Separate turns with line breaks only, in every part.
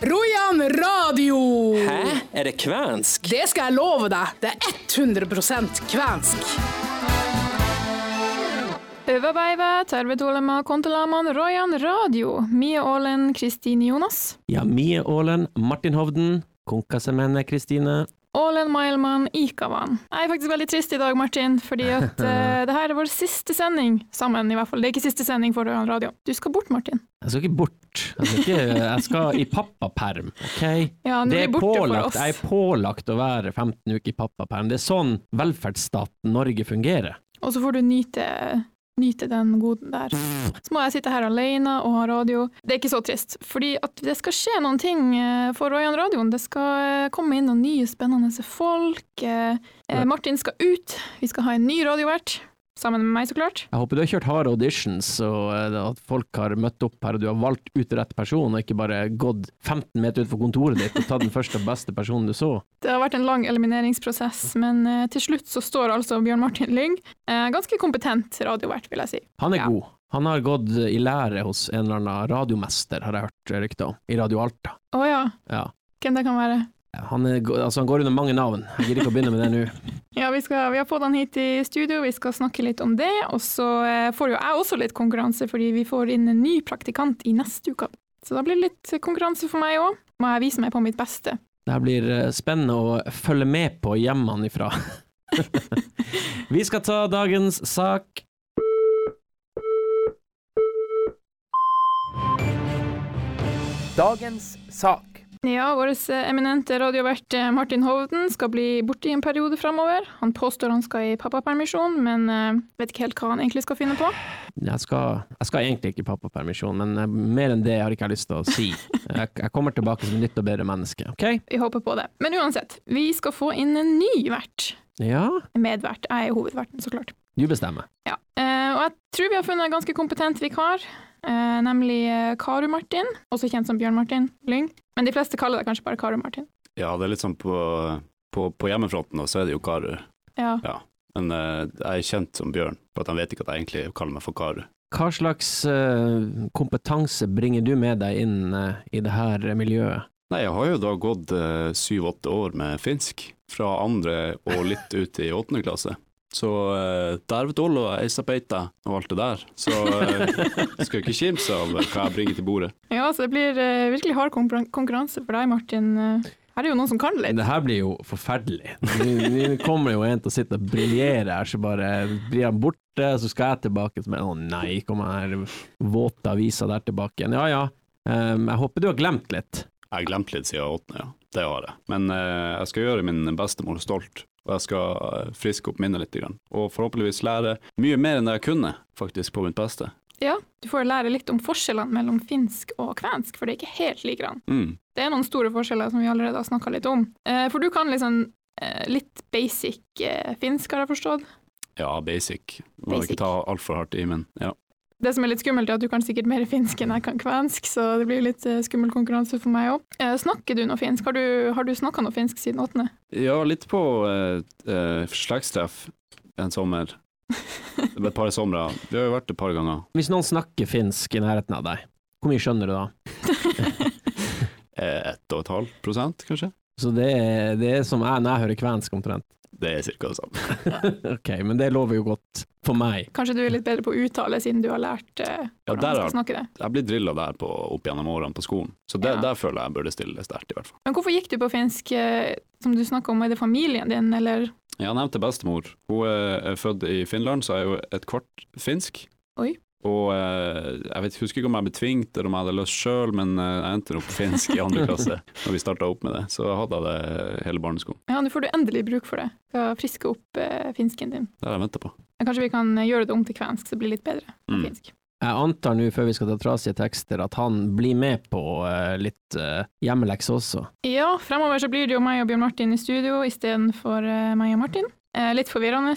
Rojan radio!
Hæ? Er det kvensk?
Det skal jeg love deg. Det er 100 kvensk.
Övapäivä, tervetuloa kontolaamaan Rojan Radio. Mie olen Kristiine Jonas.
Ja, Mie Ålen, Martin Hovden, Konkasemene Kristine.
Olen Mailman Ikavan. Jeg er faktisk veldig trist i dag, Martin, fordi at eh, det her er vår siste sending sammen, i hvert fall. Det er ikke siste sending for Rojan Radio. Du skal bort, Martin.
Jeg skal ikke bort. Jeg skal, ikke, jeg skal i pappaperm, OK?
Ja, du
Det
blir
er
borte for
pålagt,
oss.
jeg er pålagt å være 15 uker i pappaperm. Det er sånn velferdsstaten Norge fungerer.
Og så får du nyte, nyte den goden der. Så må jeg sitte her alene og ha radio. Det er ikke så trist, fordi at det skal skje noen ting eh, for Rojan Radioen. Det skal eh, komme inn noen nye spennende folk. Eh, eh, Martin skal ut, vi skal ha en ny radiovert. Sammen med meg, så klart.
Jeg håper du har kjørt harde auditions, og eh, at folk har møtt opp her, og du har valgt ut rett person, og ikke bare gått 15 meter utenfor kontoret ditt og tatt den første og beste personen du så.
Det har vært en lang elimineringsprosess, men eh, til slutt så står altså Bjørn Martin Lyng. Eh, ganske kompetent radiovert, vil jeg si.
Han er
Ja.
god. Han har gått i lære hos en eller annen radiomester, har jeg hørt rykter om, i Radio Alta.
Å ja,
Ja.
hvem det kan være?
Han, er, go- altså, han går under mange navn, jeg gidder ikke å begynne med det nå.
Ja, vi, skal, vi har fått han hit i studio, vi skal snakke litt om det. Og så eh, får jo jeg også litt konkurranse, fordi vi får inn en ny praktikant i neste uke. Så da blir det litt konkurranse for meg òg. Må jeg vise meg på mitt beste.
Det her blir eh, spennende å følge med på hjemmefra. Vi skal ta dagens sak.
Dagens sak.
Ja, vår eh, eminente radiovert eh, Martin Hovden skal bli borte i en periode framover. Han påstår han skal i pappapermisjon, men eh, vet ikke helt hva han egentlig skal finne på.
Jeg skal, jeg skal egentlig ikke i pappapermisjon, men eh, mer enn det har jeg ikke lyst til å si. Jeg, jeg kommer tilbake som et nytt og bedre menneske, OK?
Vi håper på det. Men uansett, vi skal få inn en ny vert.
Ja,
Medvert. Jeg er hovedverten, så klart.
du bestemmer.
Ja, eh, og jeg tror vi har funnet en ganske kompetent vikar, eh, nemlig eh, Karu Martin, også kjent som Bjørn Martin Lyng. Men de fleste kaller deg kanskje bare Karu Martin.
Ja, det er litt sånn på, på, på hjemmefronten, da, så er det jo Karu.
Ja.
Men eh, jeg er kjent som Bjørn, for at han vet ikke at jeg egentlig kaller meg for Karu.
Hva slags eh, kompetanse bringer du med deg inn eh, i det her miljøet?
Nei, jeg har jo da gått eh, syv-åtte år med finsk, fra andre og litt ut i åttende klasse. Så uh, dervetål og eisapeita og alt det der. Så eh, skal ikke kimse av hva jeg bringer til bordet.
ja, så det blir eh, virkelig hard konkurran- konkurranse for deg, Martin. Eh, Her er jo noen som kan litt.
Det her blir jo forferdelig. Nå nå kommer det jo en til å sitte og briljere her, så bare blir han borte, så skal jeg tilbake. Så bare, å nei, kommer den her våte avisa der tilbake igjen. Ja ja, Ehm, jeg håper du har glemt litt.
Jeg har glemt litt siden åttende, ja. Det har jeg. Men eh, jeg skal gjøre min bestemor stolt, og jeg skal eh, friske opp minnet litt. Grann. Og forhåpentligvis lære mye mer enn det jeg kunne, faktisk, på mitt beste.
Ja, du får jo lære litt om forskjellene mellom finsk og kvensk, for det er ikke helt like grann.
Mm.
Det er noen store forskjeller som vi allerede har snakka litt om. Eh, For du kan liksom eh, litt basic eh, finsk, har jeg forstått.
Ja, basic. Må
Basic.
ikke ta altfor hardt i, men ja.
Det som er litt skummelt, er at du kan sikkert mer finsk enn jeg kan kvensk, så det blir litt eh, skummel konkurranse for meg òg. Snakker du noe finsk? Har du, har du snakka noe finsk siden åttende?
Ja, litt på eh, eh, slektstreff en sommer. Det var Et par somre. Vi har jo vært et par ganger.
Hvis noen snakker finsk i nærheten av deg, hvor mye skjønner du da?
Eh, Ett og et halvt prosent, kanskje?
Så det er, det er som jeg når jeg hører kvensk omtrent.
Det er cirka det samme.
Ok, men det lover jo godt for meg.
Kanskje du er litt bedre på å uttale siden du har lært eh,
Ja,
hvordan
der
man skal
har-
snakke det.
Jeg blir drilla der på, opp gjennom årene på skolen, så det,
Ja.
der føler jeg jeg burde stille sterkt, i hvert fall.
Men hvorfor gikk du på finsk, eh, som du snakka om, er det familien din, eller?
Jeg nevnte bestemor. Hun er, er født i Finland, så er jo et kvart finsk.
Oi.
Og eh, jeg vet, husker ikke om jeg ble tvunget eller om jeg hadde lyst sjøl, men eh, jeg endte opp finsk i andre klasse når vi starta opp med det. Så hadde jeg det hele barneskolen.
Ja, nå får du endelig bruk for det. Skal friske opp eh, finsken din.
Det har jeg venta på.
Men Kanskje vi kan eh, gjøre det om til kvensk, så det blir litt bedre på
Mm.
finsk.
Jeg antar nå, før vi skal ta trasige tekster, at han blir med på eh, litt uh, hjemmelekse også.
Ja, fremover så blir det jo meg og Bjørn Martin i studio istedenfor uh, meg og Martin. Eh, litt forvirrende.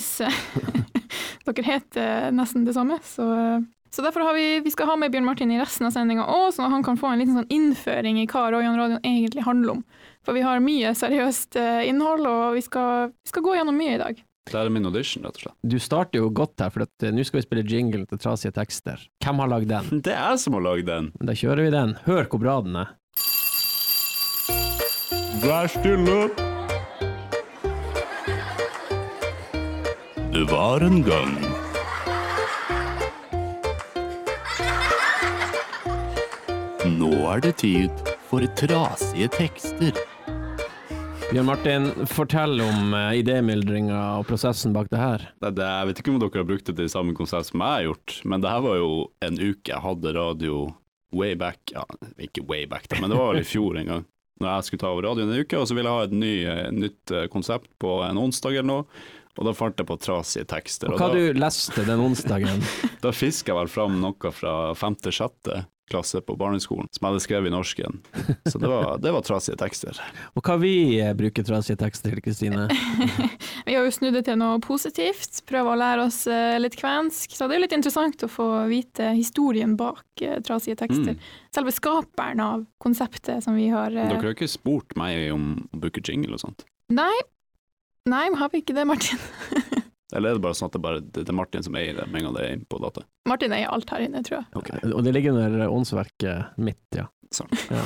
Dere heter eh, nesten det samme, så eh, så derfor har vi, vi skal ha med Bjørn Martin i resten av sendinga òg, så han kan få en liten sånn innføring i hva Rojan Radioen egentlig handler om. For vi har mye seriøst eh, innhold, og vi skal, vi skal gå gjennom mye i dag.
Det er min audition, rett og slett.
Du starter jo godt her, for at eh, nå skal vi spille jingle til trasige tekster. Hvem har lagd den?
Det er jeg som har lagd den.
Da kjører vi den. Hør hvor bra den er.
Vær stille! Det var en gang Nå er det tid for trasige tekster.
Bjørn Martin, fortell om eh, idémyldringa og prosessen bak det her.
Nei, det, jeg vet ikke om dere har brukt det til samme konsept som jeg har gjort, men det her var jo en uke jeg hadde radio way back, ja, ikke way back, da, men det var vel i fjor en gang. Når jeg skulle ta over radioen en uke, og så ville jeg ha et ny, eh, nytt eh, konsept på en onsdag eller noe, og da fant jeg på trasige tekster.
Og hva
da,
du leste den onsdagen?
da fisker jeg vel fram noe fra femte-sjette klasse på barneskolen, som jeg hadde skrevet i norsken. Så det var, det var trasige tekster.
Og hva vi eh, bruker trasige tekster til, Kristine?
Vi har jo snudd det til noe positivt, prøver å lære oss eh, litt kvensk. Så det er jo litt interessant å få vite historien bak eh, trasige tekster.
Mm.
Selve skaperen av konseptet som vi har eh,
Dere har ikke spurt meg om å bruke jingle og sånt?
Nei. Nei, har vi ikke det, Martin?
Eller er det bare sånn at det, bare, det er Martin som eier det med en gang det er inne på data?
Martin eier alt her inne, tror jeg.
Og det ligger under åndsverket mitt, ja.
Sånn.
ja.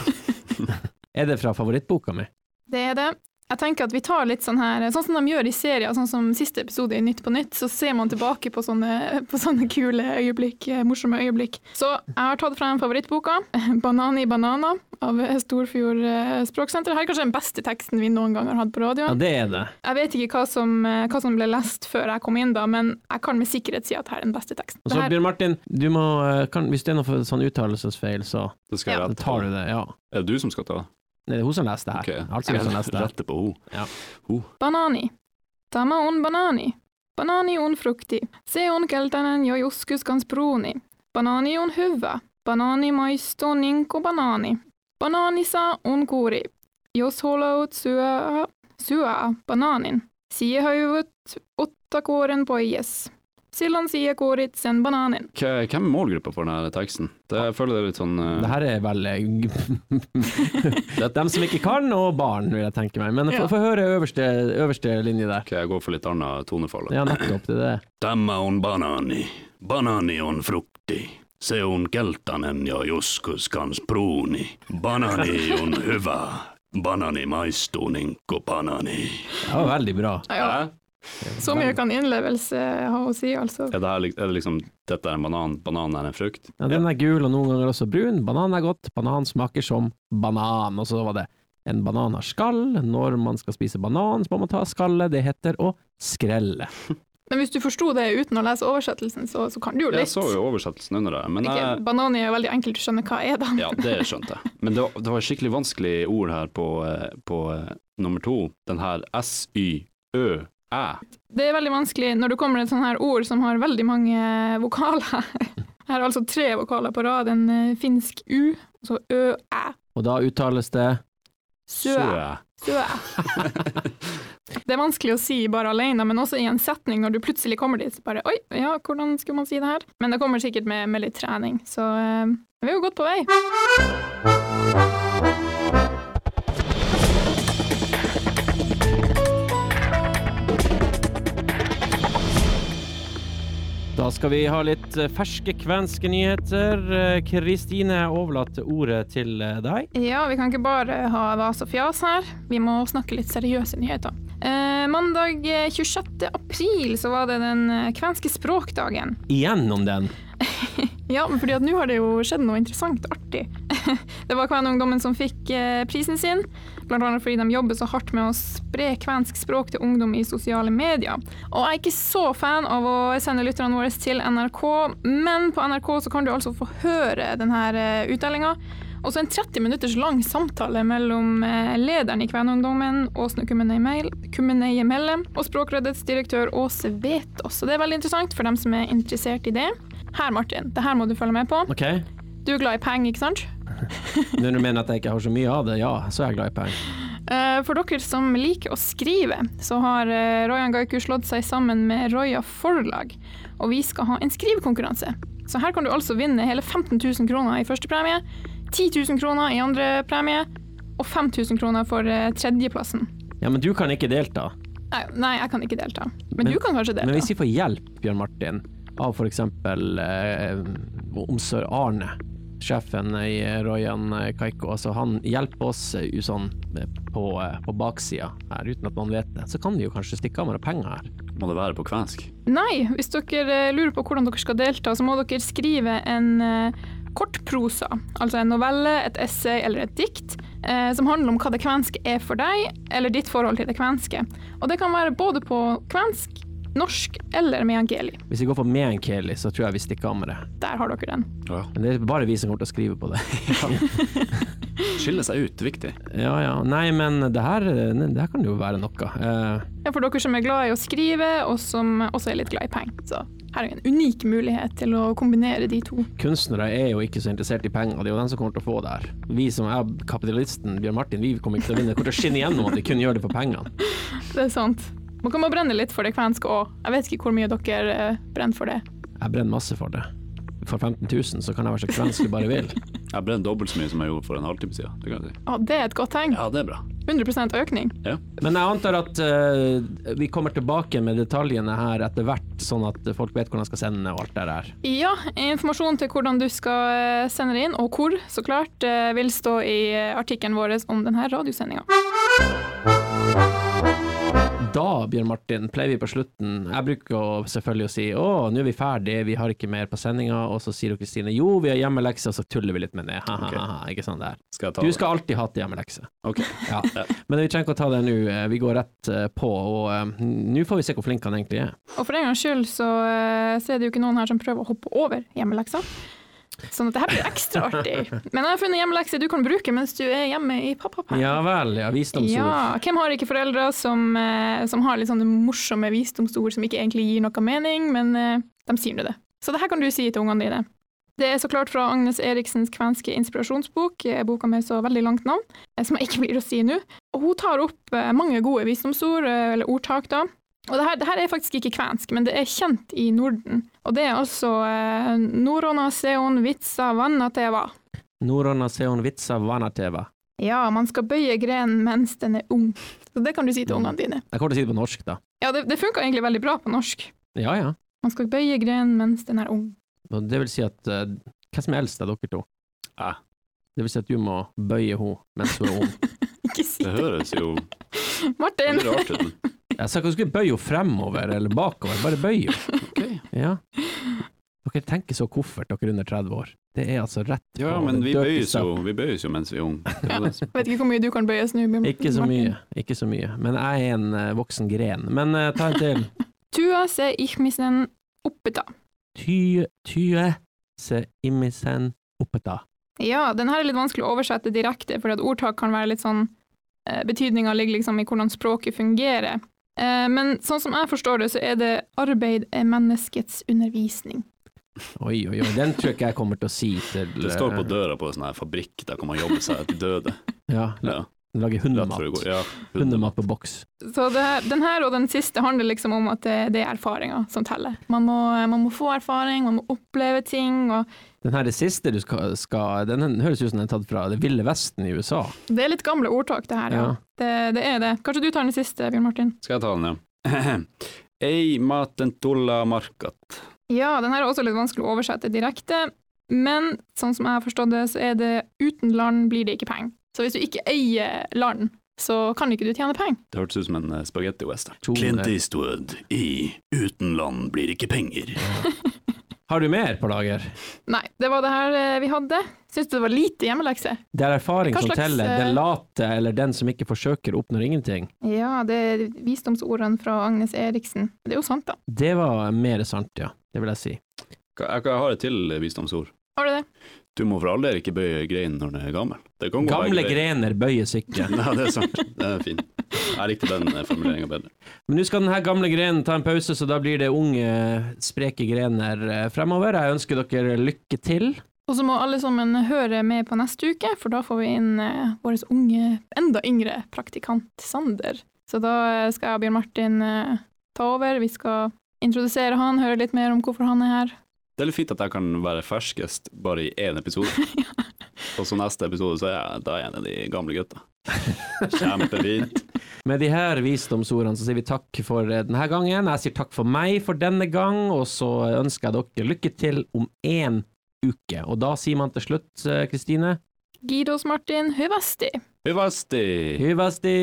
Er det fra favorittboka mi?
Det er det. Jeg tenker at vi tar litt sånn her, sånn som de gjør i serier, sånn som siste episode i Nytt på Nytt, så ser man tilbake på sånne, på sånne kule øyeblikk, eh, morsomme øyeblikk. Så jeg har tatt frem favorittboka, 'Banan i banana' av Storfjord eh, Språksenter. Her er kanskje den beste teksten vi noen gang har hatt på
Ja,
radioen.
det er det.
Jeg vet ikke hva som, eh, hva som ble lest før jeg kom inn da, men jeg kan med sikkerhet si at her er den beste teksten.
Og
Det
så
her,
Bjørn Martin, du må, eh, kan, hvis det er noe sånn uttalelsesfeil, så
Da skal jeg
Ja.
rette på
tar du det, ja.
Er det du som skal ta det?
Det er hun som leser det her.
Ok.
Altså hun som leser det her.
Rette på henne.
banani. Tama un banani. Banani un frukti. Se un keltanen jo joskus kans bruni. Banani un hyvä. Banani maisto ninko banani. Bananisa un kuri. Jos holout syö, syö bananin. Siehöyvyt ottakoren poies. Silloin siekuurit sen bananin.
K- Hvem er målgruppa for denne teksten? Det, jeg føler det er litt sånn eh,
Det her er vel eh, Dem som ikke kan, og barn, vil jeg tenke meg. Men få
Ja.
få høre øverste, øverste linje der.
Ok, jeg går for litt annet tonefall.
Ja, nettopp. Det er det.
Tämä on banaani. Banaani on frukti. Se on keltainen ja joskus kans pruuni. Banaani on hyvä. Banaani maistuu ninkku banani.
Det var veldig bra.
Ja, så mye kan innlevelse ha å si, altså.
Er, det her, lik- er det liksom dette er en banan, bananen er en frukt?
Ja, den er gul, og noen ganger også brun. Banan er godt, banan smaker som banan. Og så var det en banan har skall. Når man skal spise banan, så må man ta skallet. Det heter å skrelle.
Men hvis du forsto det uten å lese oversettelsen, så, så kan du jo
Jeg
litt.
så jo oversettelsen under det, men
Ikke,
jeg,
banan er jo veldig enkelt å skjønne hva er, da.
ja, det skjønte jeg. Men det var, det var skikkelig vanskelig ord her på, eh, på eh, nummer to. Den her s-y-ø-æ.
Det er veldig vanskelig når du kommer til et sånt her ord som har veldig mange vokaler. Her er altså tre vokaler på rad. En eh, finsk u, og så ø, æ,
Og da uttales det
sø, sø. Det er vanskelig å si bare alene, men også i en setning når du plutselig kommer dit. Så bare oi, ja, hvordan skulle man si det her? Men det kommer sikkert med, med litt trening, så eh, vi er jo godt på vei.
Da skal vi ha litt eh, ferske kvenske nyheter. Eh, Kristine, jeg overlater ordet til eh, deg.
Ja, vi kan ikke bare ha vas og fjas her. Vi må snakke litt seriøse nyheter. Eh, mandag eh, 26. april så var det den eh, kvenske språkdagen.
Igjennom den.
Ja, men fordi at nå har det jo skjedd noe interessant artig. det var kvenungdommen som fikk eh, prisen sin, blant annet fordi de jobber så hardt med å spre kvensk språk til ungdom i sosiale medier. Og jeg er ikke så fan av å sende lytterne våre til NRK, men på NRK så kan du altså få høre denne utdelinga. Og så en 30 minutters lang samtale mellom eh, lederen i Kvenungdommen, Åsne Kummeneie Mellem, og Språkrådets direktør Åse Vetås. Så det er veldig interessant for dem som er interessert i det. Her, Martin, det her må du følge med på.
OK?
Du er glad i penger, ikke sant?
Når du mener at jeg ikke har så mye av det, ja, så er jeg glad i penger.
Eh, For dere som liker å skrive, så har eh, Royan Gaiku slått seg sammen med Roya Forlag, og vi skal ha en skrivekonkurranse. Så her kan du altså vinne hele 15 000 kroner i første premie, 10 000 kroner i andre premie, og 5000 kroner for eh, tredjeplassen.
Ja, men du kan ikke delta.
Nei, nei, jeg kan ikke delta. Men,
Men-
du kan kanskje delta?
Men hvis vi får hjelp, Bjørn Martin, av f.eks. Eh, omsør Arne, sjefen i Royan Kaiko, altså han hjelper oss eh, u- sånn eh, på, eh, på baksida her, uten at man vet det, så kan de jo kanskje stikke av med noe penger her.
Må det være på kvensk?
Nei, hvis dere eh, lurer på hvordan dere skal delta, så må dere skrive en eh, kortprosa, altså en novelle, et essay eller et dikt, eh, som handler om hva det kvenske er for deg, eller ditt forhold til det kvenske. Og det kan være både på kvensk, norsk eller meangeli.
Hvis vi går for Meankeli, så tror jeg vi stikker av med det.
Der har dere den.
Ja.
Men det er bare vi som kommer til å skrive på det.
Skille seg ut, viktig.
Ja ja. Nei, men det her, eh, det her kan jo være noe. Eh,
Ja, for dere som er glad i å skrive, og som også er litt glad i penger. Så her er en unik mulighet til å kombinere de to.
kunstnere er jo ikke så interessert i penger, det er jo den som kommer til å få det her. Vi som er kapitalisten Bjørn Martin, vi kommer ikke til å vinne. Det kommer til å skinne igjennom at vi kun gjør det for pengene.
Det er sant. Man kan bare brenne litt for det kvenske òg. Jeg vet ikke hvor mye dere eh, brenner for det.
Jeg brenner masse for det. For 15 000 så kan jeg være så kvensk jeg bare vil.
Jeg brenner dobbelt så mye som jeg gjorde for en halvtime siden. Det kan jeg si.
Ja, det er et godt tegn.
Ja, det er bra.
100 økning.
Ja.
Men jeg antar at eh, vi kommer tilbake med detaljene her etter hvert, sånn at folk vet hvor de skal sende og alt det der.
Ja, informasjon til hvordan du skal eh, sende det inn, og hvor, så klart, eh, vil stå i eh, artikkelen vår om denne radiosendinga.
Da, Bjørn Martin, pleier vi på slutten Jeg bruker å, selvfølgelig å si å, nå er vi ferdig, vi har ikke mer på sendinga, og så sier jo Kristine jo, vi har hjemmelekse, og så tuller vi litt med det. Ha-ha-ha, ikke sånn det er.
Skal jeg ta
Du
det?
skal alltid hate hjemmelekse.
Ok.
Ja. Men vi trenger ikke å ta det nå, eh, vi går rett eh, på, og eh, nå får vi se hvor flink han egentlig er.
Og for en gangs skyld så, eh, så er det jo ikke noen her som prøver å hoppe over hjemmeleksa. Sånn at det her blir ekstra artig. Men jeg har funnet hjemmelekser du kan bruke mens du er hjemme i pappaperm.
Ja vel, ja, visdomsord.
Ja, hvem har ikke foreldre som, eh, som har litt sånne morsomme visdomsord som ikke egentlig gir noe mening, men eh, de sier nå det. Så det her kan du si til ungene dine. Det er så klart fra Agnes Eriksens kvenske inspirasjonsbok, eh, boka med så veldig langt navn, eh, som jeg ikke blir å si nå. Og hun tar opp eh, mange gode visdomsord, eh, eller ordtak da. Og det her, det her er faktisk ikke kvensk, men det er kjent i Norden. Og det er altså eh, Norona seon vitsa vanna teva.
Norona seon vitsa vanateva.
Ja, man skal bøye grenen mens den er ung. Så det kan du si til ungene dine.
Jeg kommer til å si det på norsk, da.
Ja, det, det funka egentlig veldig bra på norsk.
Ja ja.
Man skal bøye grenen mens den er ung.
Og det vil si at eh, hvem som er eldst av dere to?
Jeg.
Det vil si at du må bøye henne mens hun er ung.
Ikke si
Det høres jo
Martin!
veldig rart ut.
Jeg sa ikke at du skulle bøye henne fremover eller bakover, bare bøy henne.
Ok.
Ja. Dere tenker så koffert, dere under 30 år. Det er altså rett på
Ja, men vi
dirty
bøyes
stuff.
jo, vi bøyes jo mens vi er unge. Det er jo det som-
Jeg vet ikke hvor mye du kan bøyes nå. Bjørn
Ikke så
Martin.
mye, ikke så mye. Men jeg er en eh, voksen gren. Men eh, ta en til.
Tua se ich misen oppeta.
Ty, tye se immisen oppeta.
Ja, den her er litt vanskelig å oversette direkte, fordi at ordtak kan være litt sånn Betydninga ligger liksom i hvordan språket fungerer. Eh, Men sånn som jeg forstår det, så er det 'arbeid er menneskets undervisning'.
Oi, oi, oi. Den tror jeg ikke jeg kommer til å si til
Det står på
eh,
døra på en sånn her fabrikk, der kan man jobbe seg til døde.
Ja, la-
Ja,
lage
rett før du
hundemat.
går. Ja,
Hundemat på boks.
Så det her, den her og den siste handler liksom om at det, det er erfaringa som teller. Man må, man må få erfaring, man må oppleve ting, og
Den her det siste du skal, skal Den høres ut som den er tatt fra Det ville vesten i USA.
Det er litt gamle ordtak, det her. Ja.
Ja.
Det, det er det. Kanskje du tar den siste, Bjørn Martin?
Skal jeg ta den, ja. Ei maten tulla markat.
Ja, den her er også litt vanskelig å oversette direkte, men sånn som jeg har forstått det, så er det uten land blir det ikke penger. Så hvis du ikke eier land, så kan ikke du tjene penger.
Det hørtes ut som en eh, spagetti western.
Tone.
Clint Eastwood i Uten land blir ikke penger.
Har du mer på lager?
Nei, det var det her eh, vi hadde. Syns du det var lite hjemmelekse?
Det er erfaring
Hva
som
slags,
teller.
eh,
Den late eller den som ikke forsøker, oppnår ingenting.
Ja, det er visdomsordene fra Agnes Eriksen. Det er jo sant, da.
Det var mer sant, ja. Det vil jeg si.
Ka- Jeg jeg har et til visdomsord.
Har du det?
Du må for all del ikke bøye greinen når den er gammel. Det kan gå
Gamle
begge veier.
grener bøyes ikke.
Ja, det er sant. Det er fin. Jeg likte den formuleringa bedre.
Men nå skal denne gamle grenen ta en pause, så da blir det unge, spreke grener eh, fremover. Jeg ønsker dere lykke til.
Og så må alle sammen høre med på neste uke, for da får vi inn eh, vår unge, enda yngre praktikant Sander. Så da eh, skal jeg og Bjørn Martin eh, ta over. Vi skal introdusere han, høre litt mer om hvorfor han er her.
Det er litt fint at jeg kan være ferskest bare i én episode, og så neste episode så er jeg, da er jeg en av de gamle gutta. Kjempefint.
Med de her visdomsordene så sier vi takk for eh, denne gangen. Jeg sier takk for meg for denne gang, og så ønsker jeg dere lykke til om én uke. Og da sier man til slutt, eh, Kristine
Guidos Martin Hyvasti.
Hyvasti!
Hyvasti!